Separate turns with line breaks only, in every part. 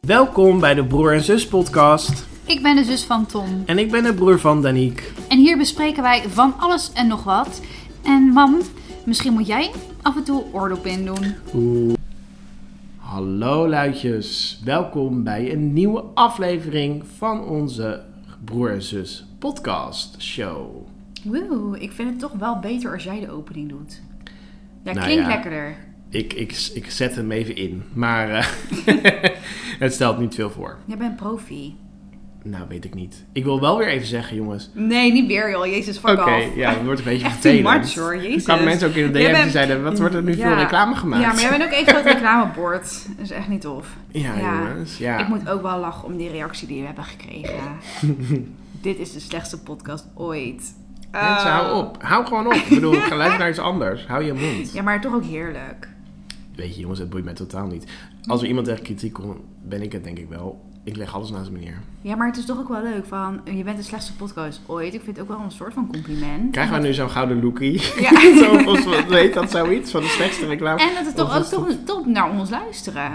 Welkom bij de Broer en Zus podcast.
Ik ben de zus van Tom
En ik ben de broer van Daniek.
en hier bespreken wij van alles en nog wat. En mam, misschien moet jij af en toe oordop in doen.
Oeh. Hallo luidjes, welkom bij een nieuwe aflevering van onze Broer en Zus podcast show.
Woe, ik vind het toch wel beter als jij de opening doet. Ja,
Nou
klinkt
ja.
lekkerder.
Ik, ik, ik zet hem even in, maar eh, het stelt niet veel voor.
Jij bent profi.
Nou, weet ik niet. Ik wil wel weer even zeggen, jongens.
Nee, niet weer joh. Jezus, fuck
Oké,
off.
ja, het wordt een beetje
Echt too
vervelend.
much, hoor.
Er
Jezus.
kwamen mensen ook in de
Jij
DM die
bent-
zeiden, wat wordt er nu
Ja.
voor reclame gemaakt?
Ja, maar jij bent ook één groot reclamebord. Dat is echt niet tof.
Ja,
Ja.
jongens. Ja.
Ik moet ook wel lachen om die reactie die we hebben gekregen. Dit is de slechtste podcast ooit.
Mensen,
Oh.
hou op. Hou gewoon op. Ik bedoel, ga luisteren naar iets anders. Hou je mond.
Ja, maar toch ook heerlijk.
Weet je, jongens, het boeit mij totaal niet. Als er iemand echt kritiek komt, ben ik het denk ik wel. Ik leg alles naast me neer.
Ja, maar het is toch ook wel leuk van, eh, je bent de slechtste podcast ooit. Ik vind het ook wel een soort van compliment.
Krijgen we nu zo'n gouden lookie?
Ja.
Zo, volgens mij weet dat zoiets van de slechtste reclame.
En dat het
Of
toch ook
is
toch, toch naar ons luisteren.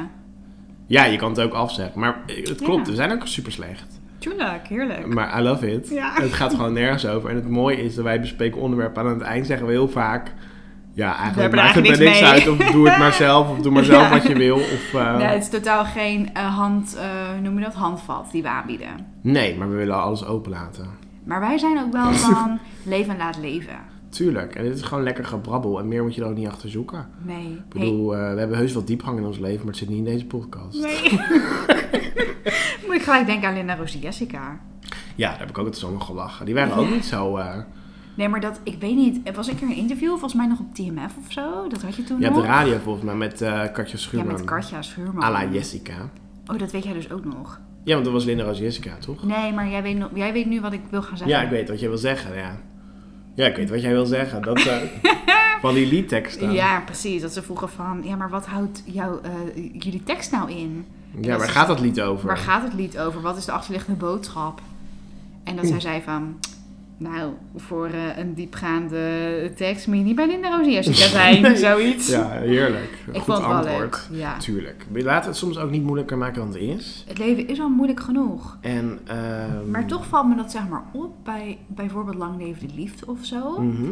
Ja, je kan het ook afzeggen. Maar eh, het klopt,
Ja.
we zijn ook super slecht.
Tuurlijk, heerlijk.
Maar I love it.
Ja.
Het gaat gewoon nergens over. En het mooie is dat wij bespreken onderwerpen. Aan het eind zeggen we heel vaak... Ja,
We
eigenlijk
hebben
maakt
er
het me niks
eigenlijk
uit.
niks
Of doe het maar zelf. Of doe maar zelf
Ja.
wat je wil. Of, eh,
Nee, het is totaal geen eh, hand, eh, hoe noem je dat, handvat die we aanbieden.
nee, maar we willen alles openlaten.
Maar wij zijn ook wel van leven en laat leven.
Tuurlijk, en dit is gewoon lekker gebrabbel en meer moet je er ook niet achter zoeken.
Nee.
Ik bedoel, eh, we hebben heus wel diepgang in ons leven, maar het zit niet in deze podcast.
Nee. nee. Moet ik gelijk denken aan Linda Rosie Jessica.
Ja, daar heb ik ook het zomaar gelachen. Die waren ook niet zo. eh,
Nee, maar dat, ik weet niet, was ik er een interview, volgens mij nog op TMF of zo? Dat had je toen
je hebt de
nog?
radio volgens mij met eh Katja
ja,
Schuurman.
met Katja Schuurman.
à la Jessica.
Oh, dat weet jij dus ook nog.
Ja, want dat was Linda als Jessica, toch?
Nee, maar jij weet, nog, jij weet nu wat ik wil gaan zeggen.
Ja, ik weet wat jij wil zeggen, ja. Ja, ik weet wat jij wil zeggen. Dat, eh, van die liedteksten.
Ja, precies. Dat ze vroegen van, ja, maar wat houdt jouw, eh, jullie tekst nou in?
ja, waar
is-
gaat dat lied over?
Waar gaat het lied over? Wat is de achterliggende boodschap? En dat zij zei van... Nou, voor eh, een diepgaande tekst moet je niet bij Linda Rosie Jessica zijn.
Nee.
Zoiets.
Ja, heerlijk. Goed
ik vond het wel
antwoord.
leuk. Ja.
Tuurlijk. We laten het soms ook niet moeilijker maken dan het is.
Het leven is al moeilijk genoeg.
En, ehm,
Maar toch valt me dat zeg maar op bij bijvoorbeeld Lang Leven de Liefde of zo.
mhm.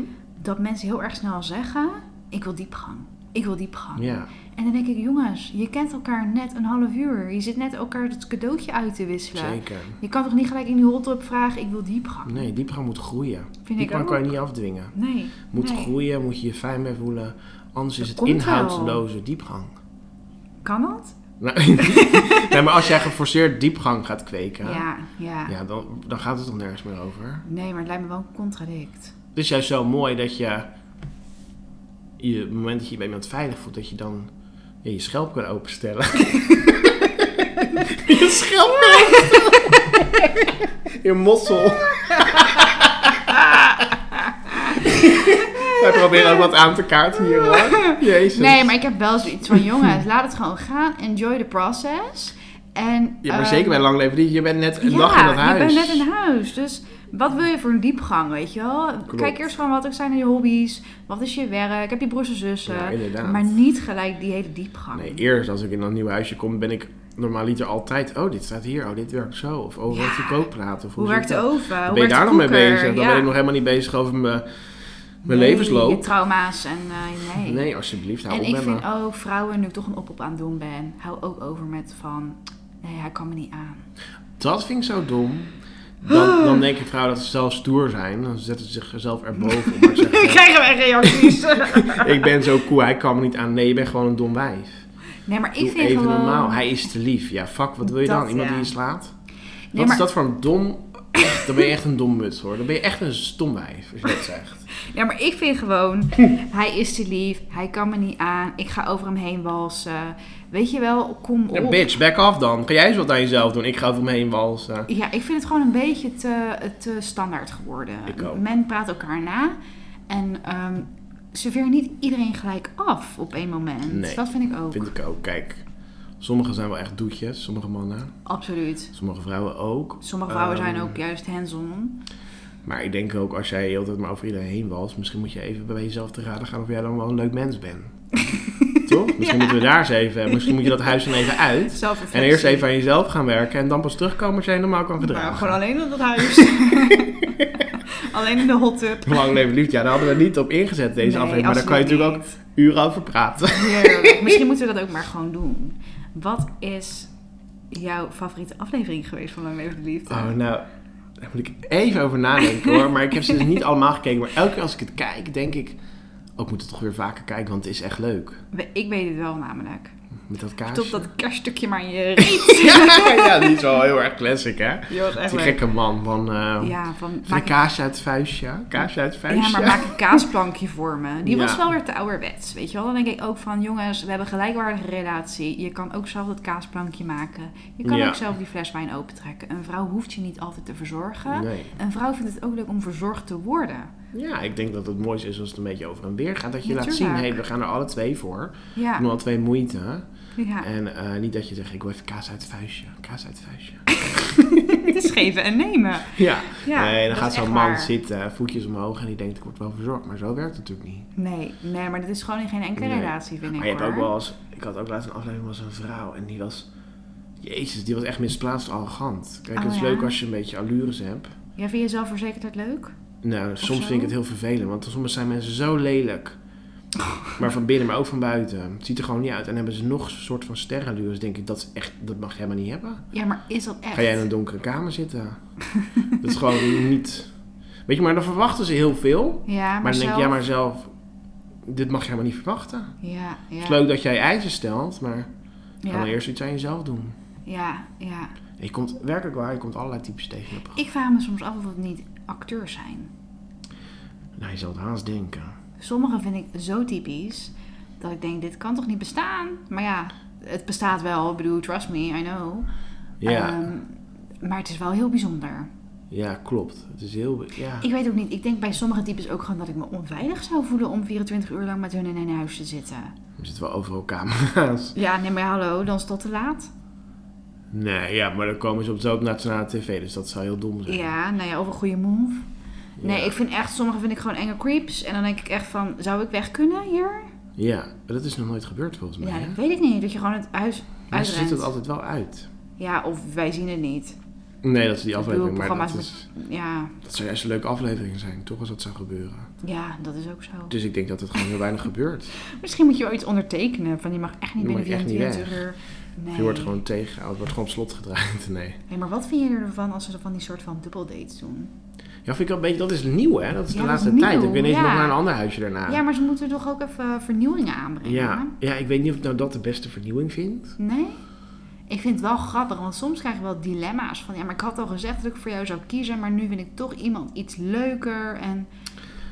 Dat mensen heel erg snel zeggen... Ik wil diepgang. Ik wil diepgang.
Ja,
En dan denk ik, jongens, je kent elkaar net een half uur. Je zit net elkaar het cadeautje uit te wisselen.
zeker.
Je kan toch niet gelijk in die hot-up vragen, ik wil diepgang.
Nee, diepgang moet groeien.
Vind ik
diepgang
ook.
kan je niet afdwingen.
Nee.
Moet
nee.
groeien, moet je je fijn bij voelen. Anders is
Dat
het
komt
inhoudsloze diepgang.
Kan dat?
Nou, nee, maar als jij geforceerd diepgang gaat kweken,
Ja, ja.
ja, dan, dan gaat het toch nergens meer over.
Nee, maar het lijkt me wel een contradict.
Het is juist zo mooi dat je, je op het moment dat je je bij iemand veilig voelt, dat je dan ja, je schelp kan openstellen. je schelp kan openstellen. je mossel. Wij proberen ook wat aan te kaarten hier hoor. Jezus.
Nee, maar ik heb wel zoiets van, jongens, laat het gewoon gaan. Enjoy the process. En,
Ja, maar
ehm,
zeker bij lang leven niet. Je bent net een
ja,
dag in dat huis.
je bent net in huis. Dus wat wil je voor een diepgang, weet je wel? Kijk eerst gewoon wat ook zijn je hobby's. Wat is je werk? Heb je broers en zussen?
Ja, inderdaad.
maar niet gelijk die hele diepgang.
Nee, eerst als ik in een nieuw huisje kom, ben ik normaliter altijd... Oh, dit staat hier. Oh, dit werkt zo. Of oh,
Ja.
wat goedkoop praten. Of
Hoe
zit
werkt de
dat?
oven? Hoe
ben je
werkt
daar
de
nog mee
koeker?
bezig? Dan
Ja.
ben ik nog helemaal niet bezig over mijn, mijn
Nee, Je
levensloop.
trauma's en eh, nee.
Nee, alsjeblieft. Hou
en
op
ik
Nou, met
vind
me.
ook vrouwen, nu ik toch een oproep aan het doen ben, hou ook over met van, nee, hij kan me niet aan.
Dat vind ik zo dom. Dan, dan denken vrouwen dat ze zelf stoer zijn. Dan zetten ze zichzelf erboven. Maar ze zeggen,
krijgen wij reacties.
ik ben zo cool, hij kan me niet aan. Nee, je bent gewoon een dom wijf.
nee, maar ik
Doe
vind
even
gewoon...
normaal. Hij is te lief. Ja, fuck, wat wil je
Dat,
dan? Iemand
ja.
die je slaat? Wat
Nee,
is
maar-
dat voor een dom... Echt, dan ben je echt een dom muts hoor. Dan ben je echt een stom wijf, als je dat zegt.
Ja, maar ik vind gewoon, hij is te lief, hij kan me niet aan, ik ga over hem heen walsen. Weet je wel, kom op.
Ja, bitch, back off dan. Ga jij eens wat aan jezelf doen. Ik ga over me heen walsen.
Ja, ik vind het gewoon een beetje te, te standaard geworden.
Ik ook.
Men praat elkaar na en ehm serveer niet iedereen gelijk af op één moment.
Nee.
Dat vind ik ook.
Vind ik ook. Kijk, sommigen zijn wel echt doetjes. Sommige mannen.
Absoluut.
Sommige vrouwen ook.
Sommige vrouwen
Ehm,
zijn ook juist hands-on.
Maar ik denk ook, als jij heel tijd maar over iedereen heen was, misschien moet je even bij jezelf te raden gaan of jij dan wel een leuk mens bent. toch? Misschien moeten we daar eens even, misschien moet je dat huis dan even uit.
Zelf
En eerst even aan jezelf gaan werken en dan pas terugkomen als je helemaal kan
Maar
verdragen.
gewoon alleen op dat huis. alleen in de hot tub.
Lang leven liefde, ja, daar hadden we niet op ingezet deze aflevering, maar daar kan je natuurlijk ook uren over praten.
ook... Misschien moeten we dat ook maar gewoon doen. Wat is jouw favoriete aflevering geweest van Lang Leven de Liefde?
Oh, nou, daar moet ik even over nadenken hoor. Maar ik heb ze dus niet allemaal gekeken. Maar elke keer als ik het kijk, denk ik... Ook moet het toch weer vaker kijken, want het is echt leuk.
We- Ik weet het wel namelijk.
Met dat kaarsje.
Tot dat kerststukje maar in je reet.
ja, ja, die is wel heel erg classic, hè?
Ja, dat is echt
Die
leuk.
gekke man van... eh
Ja, van,
van
maak
de kaasje uit het vuistje. ja? Kaasje uit het
Ja,
vuistje.
maar maak een kaasplankje voor me. Die
Ja.
was wel weer te ouderwets, weet je wel. Dan denk ik ook van, jongens, we hebben een gelijkwaardige relatie. Je kan ook zelf dat kaasplankje maken. Je kan
Ja.
ook zelf die fles wijn opentrekken. Een vrouw hoeft je niet altijd te verzorgen.
Nee.
Een vrouw vindt het ook leuk om verzorgd te worden.
Ja, ik denk dat het mooiste is als het een beetje over en weer gaat. Dat je laat zien,
Natuurlijk.
hé, we gaan er alle twee voor. We doen
Ja,
alle twee moeite.
ja.
En eh, niet dat je zegt, ik wil even kaas uit het vuistje. Kaas uit het vuistje.
het is geven en nemen.
Ja.
Ja,
nee, dan
dat
gaat
is
zo'n
echt
man
waar.
zitten, voetjes omhoog en die denkt ik word wel verzorgd. Maar zo werkt het natuurlijk niet.
Nee, nee, maar dat is gewoon in geen enkele
Nee.
relatie, vind ik
maar je hebt
hoor.
ook wel eens, ik had ook laatst een aflevering was een vrouw en die was, jezus, die was echt misplaatst arrogant. Kijk,
Oh,
het is
ja?
leuk als je een beetje allures hebt.
Ja, vind je zelfverzekerdheid leuk?
Nou, soms
zo?
vind ik het heel vervelend, want soms zijn mensen zo lelijk. Maar van binnen, maar ook van buiten. Het ziet er gewoon niet uit. En hebben ze nog een soort van sterrenlures, denk ik, dat, is echt, dat mag je helemaal niet hebben.
Ja, maar is dat echt?
Ga jij in een donkere kamer zitten? dat is gewoon niet... Weet je, maar dan verwachten ze heel veel.
Ja, maar,
Maar dan denk
zelf...
ik, ja, maar zelf, dit mag je helemaal niet verwachten.
Ja,
Het
ja.
is leuk dat jij eisen stelt, maar ga dan
Ja,
eerst iets aan jezelf doen.
ja, ja.
Je komt werkelijk waar, je komt allerlei types tegen. in het programma.
Ik vraag me soms af of het niet acteurs zijn.
Nou, je zal het haast denken.
Sommige vind ik zo typisch dat ik denk: dit kan toch niet bestaan? Maar ja, het bestaat wel. Ik bedoel, trust me, I know.
Ja,
Ehm, maar het is wel heel bijzonder.
ja klopt. Het is heel... Ja.
Ik weet ook niet. Ik denk bij sommige types ook gewoon dat ik me onveilig zou voelen om 24 uur lang met hun in een huis te zitten.
Er zitten wel overal camera's.
Ja, nee, maar hallo, dan is het al te laat.
Nee, ja, maar dan komen ze op zo'n nationale tv, dus dat zou heel dom zijn.
Ja, nou ja, over een goede move. Nee,
Ja.
ik vind echt, sommige vind ik gewoon enge creeps. En dan denk ik echt van, zou ik weg kunnen hier?
Ja, maar dat is nog nooit gebeurd volgens mij.
Ja,
hè?
dat weet ik niet. Dat je gewoon het huis
Mensen ziet het
uitrent.
altijd wel uit.
Ja, of wij zien het niet.
Nee, dat is die
Ik bedoel,
aflevering, maar dat,
programma's
is,
Ja,
dat zou juist een leuke aflevering zijn, toch, als dat zou gebeuren.
Ja, dat is ook zo.
Dus ik denk dat het gewoon heel weinig gebeurt.
Misschien moet je wel iets ondertekenen. Van je mag echt niet
Je
binnen
mag echt niet
24 uur. Nee.
Je wordt gewoon tegengehouden, het wordt gewoon op slot gedraaid. Nee.
Hey, maar wat vind je ervan als ze van die soort van dubbeldates doen?
Ja, vind ik wel een beetje, dat is nieuw hè, dat is
Ja,
de
dat is
laatste
nieuw,
tijd. Ik ben ineens
ja.
nog naar een ander huisje daarna.
Ja, maar ze moeten toch ook even vernieuwingen aanbrengen?
ja. Ja, ik weet niet of ik nou dat de beste vernieuwing vind.
Nee? Ik vind het wel grappig, want soms krijg je wel dilemma's van... Ja, maar ik had al gezegd dat ik voor jou zou kiezen, maar nu vind ik toch iemand iets leuker en...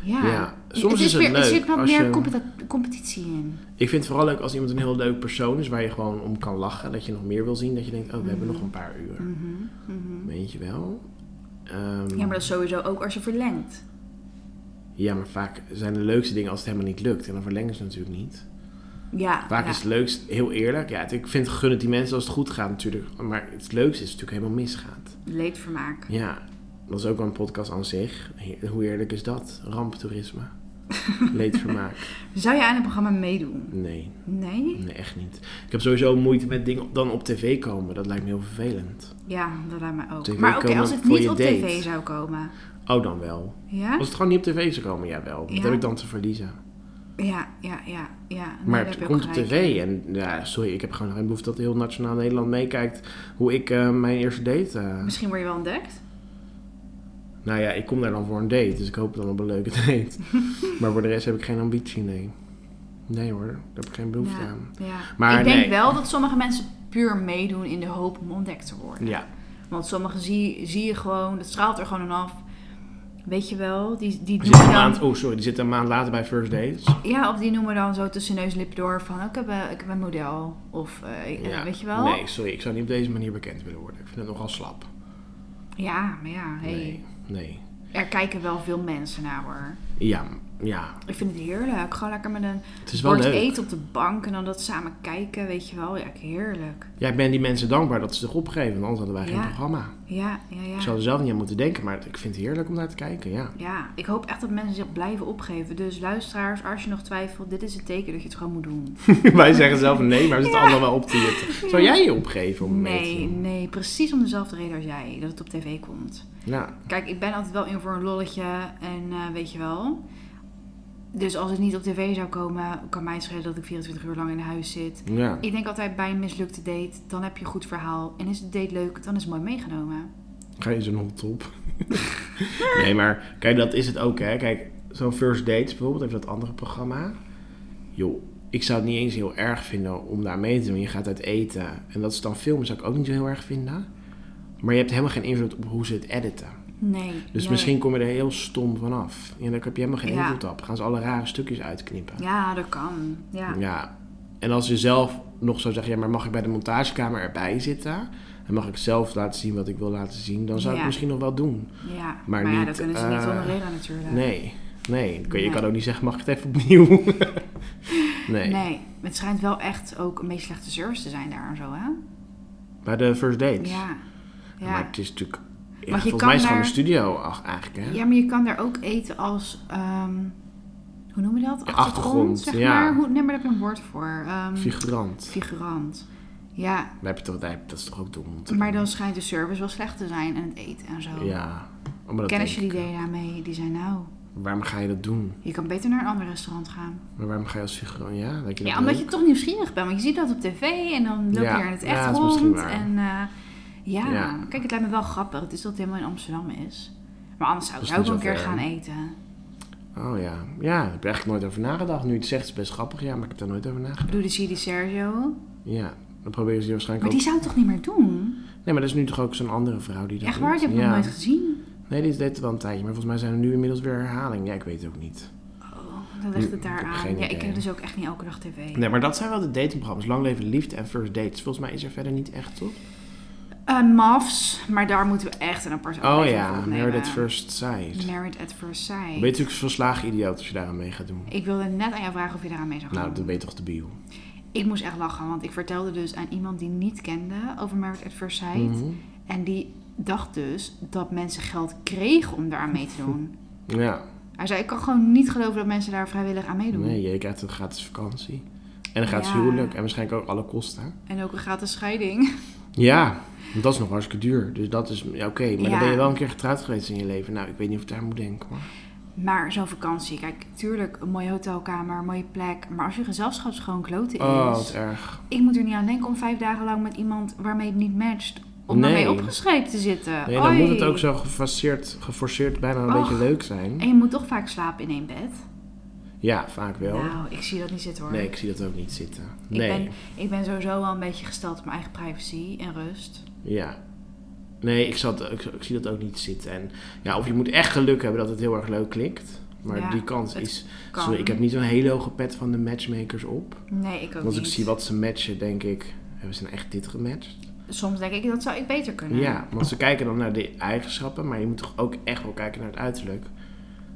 Ja,
Ja, soms is het
weer, Er
leuk
zit wat
als
meer
je-
competi- competitie in.
Ik vind het vooral leuk als iemand een heel leuk persoon is waar je gewoon om kan lachen. Dat je nog meer wil zien, dat je denkt, oh, we hebben nog een paar uur.
Mhm, mhm.
Weet je wel? Ehm,
Ja, maar dat is sowieso ook als je verlengt.
ja, maar vaak zijn de leukste dingen als het helemaal niet lukt. En dan verlengen ze natuurlijk niet.
Ja,
Vaak
ja.
is het leukst, heel eerlijk, ja, het- ik vind gun het die mensen als het goed gaat natuurlijk. Maar het leukste is natuurlijk helemaal misgaat.
leedvermaak.
Ja, dat is ook wel een podcast aan zich. Heer- Hoe eerlijk is dat? Ramptoerisme. Leedvermaak.
Zou jij aan het programma meedoen?
Nee,
Nee?
nee, echt niet. Ik heb sowieso moeite met dingen dan op tv komen. Dat lijkt me heel vervelend.
Ja, dat lijkt mij ook.
TV
maar oké,
komen
als het
voor
niet
je
op
date.
tv zou komen.
Oh, dan wel.
Ja?
Als het gewoon niet op tv zou komen, jawel. Wat
Ah. Ja.
heb ik dan te verliezen?
Ja, ja, ja, ja. Nee,
maar
daar
het
heb je
komt
ook
op
gelijk
tv en ja, sorry, ik heb gewoon geen behoefte dat heel nationaal Nederland meekijkt hoe ik eh, mijn eerste date... eh,
in. Misschien word je wel ontdekt.
nou ja, ik kom daar dan voor een date, dus ik hoop dan op een leuke date. maar voor de rest heb ik geen ambitie, nee. Nee hoor, daar heb ik geen behoefte
Ja,
aan.
ja.
Maar
ik denk
nee.
wel dat sommige mensen puur meedoen in de hoop om ontdekt te worden.
Ja,
Want sommigen zie, zie je gewoon, dat straalt er gewoon aan af. Weet je wel, die, die
Die zit een
doen
maand,
dan...
oh sorry, die zit een maand later bij First Dates.
Ja, of die noemen dan zo tussen neus en lippen door van... oh, ik, heb een, ik heb een model. Of eh, eh, weet je wel?
Nee, sorry, ik zou niet op deze manier bekend willen worden. Ik vind het nogal slap.
Ja, maar ja, hey.
Nee. nee.
er kijken wel veel mensen naar hoor.
Ja, Ja,
Ik vind het heerlijk. Gewoon lekker met een
het is wel
bord
leuk.
eten op de bank en dan dat samen kijken, weet je wel. Ja, heerlijk.
Ja, ik ben die mensen dankbaar dat ze zich opgeven, want anders hadden wij
Ja.
geen programma.
Ja, ja, ja.
Ik zou er zelf niet aan moeten denken, maar ik vind het heerlijk om naar te kijken, ja.
Ja, ik hoop echt dat mensen zich blijven opgeven. Dus luisteraars, als je nog twijfelt, dit is het teken dat je het gewoon moet doen.
wij zeggen zelf nee, maar we zitten allemaal wel op te jitten. Zou jij je opgeven om mee te
Nee,
doen?
nee, precies om dezelfde reden als jij, dat het op tv komt.
Ja,
Kijk, ik ben altijd wel in voor een lolletje en eh, weet je wel. Dus als het niet op tv zou komen, kan mij het schelen dat ik 24 uur lang in huis zit.
ja.
Ik denk altijd bij een mislukte date, dan heb je een goed verhaal. En is de date leuk, dan is het mooi meegenomen.
Ga je zo'n hot op? nee, maar kijk, dat is het ook, hè. Kijk, zo'n First Dates bijvoorbeeld, even dat andere programma. Joh, ik zou het niet eens heel erg vinden om daar mee te doen. Je gaat uit eten en dat is dan filmen, zou ik ook niet zo heel erg vinden. Maar je hebt helemaal geen invloed op hoe ze het editen.
Nee.
Dus
nee.
misschien kom je er heel stom vanaf. En dan heb je helemaal geen
Ja.
invloed op. Gaan ze alle rare stukjes uitknippen.
Ja, dat kan. Ja.
Ja. En als je zelf nog zou zeggen, ja, maar mag ik bij de montagekamer erbij zitten? En mag ik zelf laten zien wat ik wil laten zien? Dan zou ik het
Ja.
misschien nog wel doen.
ja. Maar,
Maar
ja,
niet,
dat kunnen ze niet
eh,
honoreren natuurlijk.
Nee. Nee. Dan kun Je je
Nee.
kan ook niet zeggen, mag ik het even opnieuw? nee.
Nee, het schijnt wel echt ook een beetje slechte service te zijn daar en zo, hè?
Bij de first dates.
Ja. Ja.
Maar het is natuurlijk... Ja,
je
volgens
kan
mij is het
daar-
gewoon een studio ach, eigenlijk, hè?
ja, maar je kan daar ook eten als, ehm, hoe noem je dat?
Ja, achtergrond,
zeg
ja.
maar. Hoe, nee, maar daar heb je een woord voor. Ehm,
Figurant.
figurant. Ja,
Daar heb je toch, daar heb- dat is toch ook dom om te
maar dan schijnt de service wel slecht te zijn en het eten en zo.
Ja. Oh, maar dat
Kennis
denk
jullie
ik.
idee daarmee? Die zijn nou,
Waarom ga je dat doen?
je kan beter naar een ander restaurant gaan.
Maar waarom ga je als figurant? Ja, denk je dat
Ja, omdat
leuk?
je toch nieuwsgierig bent. Want je ziet dat op tv en dan loop je
Ja,
er in het
ja,
echt
dat is misschien
rond.
waar.
En eh, ja.
Ja.
kijk, het lijkt me wel grappig. Het is dat het helemaal in Amsterdam is. Maar anders zou ik
Dat
daar
is
ook wel een
niet zo
keer
ver,
gaan
hè?
eten.
Oh ja. Ja, daar heb ik eigenlijk nooit over nagedacht. Nu je het zegt, is het best grappig. Ja, maar ik heb daar nooit over nagedacht.
Doe de CD Sergio.
Ja, dan proberen ze die
Maar
waarschijnlijk
die
ook...
zou het toch niet meer doen?
Nee, maar dat is nu toch ook zo'n andere vrouw die dat
Echt
doet?
waar? Die heb ik
ja.
nog nooit gezien.
Nee, dit deed het wel een tijdje. Maar volgens mij zijn er nu inmiddels weer herhalingen. Ja, ik weet het ook niet.
Oh, dan legt het
Hm, ik
daar
heb
aan.
geen
Ja, ik
idee.
kijk dus ook echt niet elke dag tv.
Nee, maar dat zijn wel de datingprogramma's. Lang leven de liefde en first dates. Volgens mij is er verder niet echt, toch?
Eh, MAFs, maar daar moeten we echt een aparte
Oh
aflevering
ja,
voor opnemen.
Married at First Sight.
Married at First Sight.
Ben je natuurlijk verslagen idioot als je daar aan mee gaat doen.
Ik wilde net aan jou vragen of je daaraan mee zou gaan.
Nou, dat ben je toch de bio.
Ik moest echt lachen, want ik vertelde dus aan iemand die niet kende over Married at First Sight.
Mhm.
En die dacht dus dat mensen geld kregen om daar aan mee te doen.
Ja,
Hij zei, ik kan gewoon niet geloven dat mensen daar vrijwillig aan meedoen.
nee, je krijgt een gratis vakantie. En een gratis
Ja.
huwelijk. En waarschijnlijk ook alle kosten. hè?
En ook een gratis scheiding.
Ja, want dat is nog hartstikke duur. Dus dat is, ja, oké. maar
Ja.
dan ben je wel een keer getrouwd geweest in je leven. Nou, ik weet niet of ik daar moet denken. Maar...
Maar zo'n vakantie, kijk, tuurlijk, een mooie hotelkamer, een mooie plek. Maar als je gezelschap gewoon kloten is.
Oh, wat erg.
Ik moet er niet aan denken om vijf dagen lang met iemand waarmee het niet matcht, om
Nee.
daarmee opgeschreven te zitten.
Nee, dan moet het
Oei.
ook zo gefaseerd, geforceerd bijna een
Och.
beetje leuk zijn.
En je moet toch vaak slapen in één bed.
Ja, vaak wel.
Nou, ik zie dat niet zitten hoor.
Nee, ik zie dat ook niet zitten.
Ik,
Nee.
ben, ik ben sowieso wel een beetje gesteld op mijn eigen privacy en rust.
Ja. Nee, ik, zat, ik, ik zie dat ook niet zitten. En, ja, of je moet echt geluk hebben dat het heel erg leuk klikt. Maar
Ja,
die kans
het
is...
kan.
Sorry, ik heb niet zo'n hele hoge pet van de matchmakers op.
Nee, ik ook
Want als
niet.
ik zie wat ze matchen, denk ik... Hebben ze nou echt dit gematcht?
Soms denk ik, dat zou ik beter kunnen.
Ja, want ze kijken dan naar de eigenschappen, maar je moet toch ook echt wel kijken naar het uiterlijk.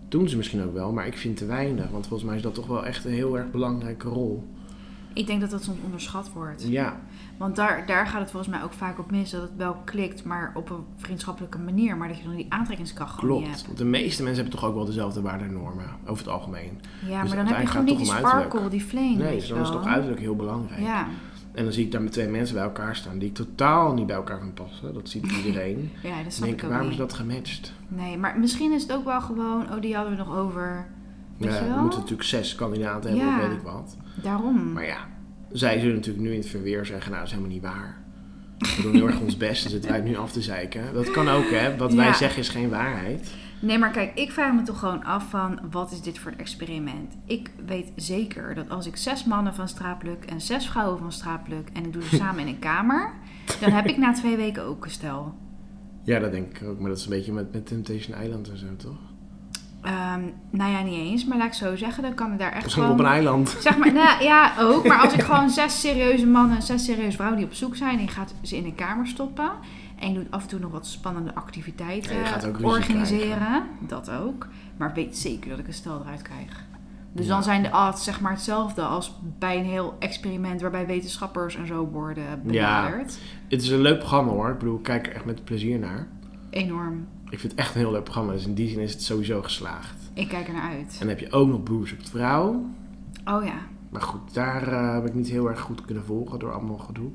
Doen ze misschien ook wel, maar ik vind te weinig. Want volgens mij is dat toch wel echt een heel erg belangrijke rol.
Ik denk dat dat soms onderschat wordt.
Ja,
Want daar, daar gaat het volgens mij ook vaak op mis. Dat het wel klikt, maar op een vriendschappelijke manier. Maar dat je dan die aantrekkingskracht gewoon niet
klopt. Want de meeste mensen hebben toch ook wel dezelfde waardenormen, over het algemeen.
hebt. Ja,
Dus
maar dan heb je
uiteindelijk
gewoon
gaat
niet die
het toch om
sparkle,
uiterlijk.
die flame.
Nee,
weet
dus
je
dan is
wel.
toch uiterlijk heel belangrijk.
Ja,
En dan zie ik daar met twee mensen bij elkaar staan die totaal niet bij elkaar van passen. Dat ziet iedereen.
ja dat
Dan
snap
denk
ik
ik,
ook
waarom
niet.
is dat gematcht?
Nee, maar misschien is het ook wel gewoon... Oh, die hadden we nog over. Weet
Ja,
je
we
wel?
moeten natuurlijk zes kandidaten hebben,
Ja.
of weet ik wat.
Daarom.
Maar ja, zij zullen natuurlijk nu in het verweer zeggen, nou, dat is helemaal niet waar. We doen heel erg ons best, dus het wijt nu af te zeiken. Dat kan ook, hè. Wat
Ja.
wij zeggen is geen waarheid.
Nee, maar kijk, ik vraag me toch gewoon af van wat is dit voor een experiment? Ik weet zeker dat als ik zes mannen van straat pluk en zes vrouwen van straat pluk en ik doe ze samen in een kamer, dan heb ik na twee weken ook een stel.
Ja, dat denk ik ook. Maar dat is een beetje met, met Temptation Island en zo, toch?
Ehm, nou ja, niet eens. Maar laat ik zo zeggen, dan kan ik daar echt
Misschien
gewoon...
op een eiland.
Zeg maar, nou ja, ook. Maar als ik gewoon zes serieuze mannen en zes serieuze vrouwen die op zoek zijn... en je gaat ze in een kamer stoppen... en je doet af en toe nog wat spannende activiteiten
En je gaat ook ruzie
organiseren... dat ook. Maar weet zeker dat ik een stel eruit krijg. Dus dan zijn de odds zeg maar hetzelfde als bij een heel experiment... waarbij wetenschappers en zo worden benaderd.
Het is een leuk programma hoor. Ik bedoel, ik kijk er echt met plezier naar.
Enorm.
Ik vind het echt een heel leuk programma. Dus in die zin is het sowieso geslaagd.
Ik kijk er naar uit.
En dan heb je ook nog Broers op het Vrouw.
Oh ja,
Maar goed, daar eh, heb ik niet heel erg goed kunnen volgen door allemaal gedoe.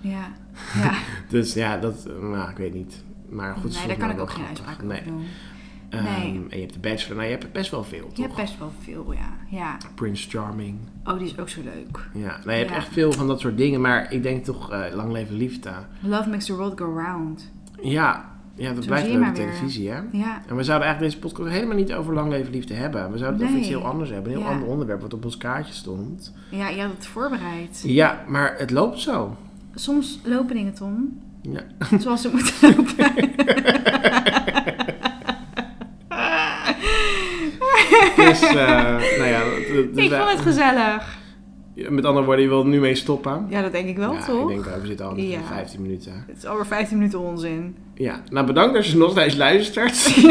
ja, ja.
Dus ja, dat, eh, nou, ik weet niet. Maar goed, het is
nee, daar
volgens
kan
mij
ik
wel
ook geen
grappig.
uitspraak
nee.
over doen.
Ehm,
Nee.
En je hebt de Bachelor. Nou, je hebt best wel veel, toch?
Je hebt best wel veel, ja. ja.
Prince Charming.
Oh, die is ook zo leuk.
Ja, nou, je hebt
Ja.
echt veel van dat soort dingen. Maar ik denk toch, eh, lang leven liefde.
Love makes the world go round.
Ja, ja dat
Zo
blijft
zie je
leuke
maar weer.
televisie, hè?
Ja,
En we zouden eigenlijk deze podcast helemaal niet over lang leven liefde hebben. We zouden het over
Nee.
iets heel anders hebben. Een heel
Ja.
ander onderwerp wat op ons kaartje stond.
ja je had het voorbereid.
Ja, maar het loopt zo.
Soms lopen dingen, Tom,
Ja.
zoals ze moeten lopen.
Dus, eh, nou ja. dat- dat-
Ik vond het gezellig.
Met andere woorden, je wilt er nu mee stoppen.
Ja, dat denk ik wel,
ja,
toch?
ik denk dat we zitten al in
Ja.
15 minuten.
Het is alweer 15 minuten onzin.
Ja, nou bedankt als je nog steeds luistert. en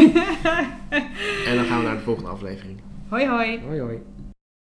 dan gaan we naar de volgende aflevering.
Hoi, hoi.
Hoi hoi.